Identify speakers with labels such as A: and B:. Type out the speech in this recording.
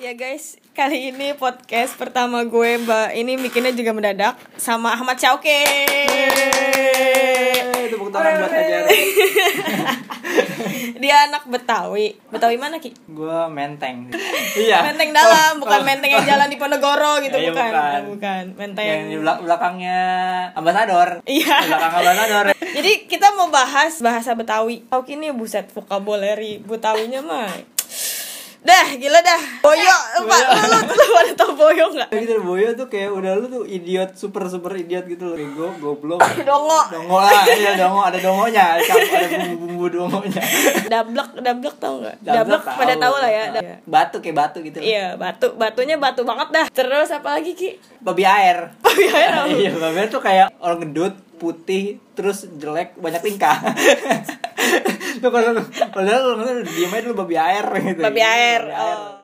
A: Ya guys, kali ini podcast pertama gue Mbak ini bikinnya juga mendadak sama Ahmad Syauke.
B: Yeay, tepuk tangan buat Hajar.
A: Dia anak Betawi. Betawi mana Ki?
B: Gue menteng. Iya.
A: Menteng dalam, bukan menteng yang jalan di Ponegoro gitu,
B: Iya,
A: bukan.
B: bukan.
A: Bukan, menteng.
B: Yang di belak- belakangnya ambasador.
A: Iya.
B: Di Belakang ambasador.
A: Jadi kita mau bahas bahasa Betawi. Tau ini buset vocabulary Betawinya mah. Dah, gila dah. Boyo, Pak. Lu lu- lu pada tau boyo enggak?
B: Gitu loh, Boyo tuh kayak udah lu tuh idiot, super super idiot gitu loh. Bego, goblok.
A: Dongo.
B: Dongo lah, iya dongo, ada dongonya, ada bumbu-bumbu dongonya.
A: Dablek, dablek tau enggak? Dablek pada tahu lah ya. Dab-
B: Iya. Batu kayak batu gitu. loh.
A: Iya, batu. Batunya batu banget dah. Terus apa lagi, Ki?
B: Babi air.
A: Babi air apa?
B: Iya, babi air tuh kayak orang gendut, putih, terus jelek, banyak tingkah. Tuh kalau lu, padahal lu ngeliat lu diem aja dulu babi air gitu.
A: Babi air.
B: Babi
A: Oh.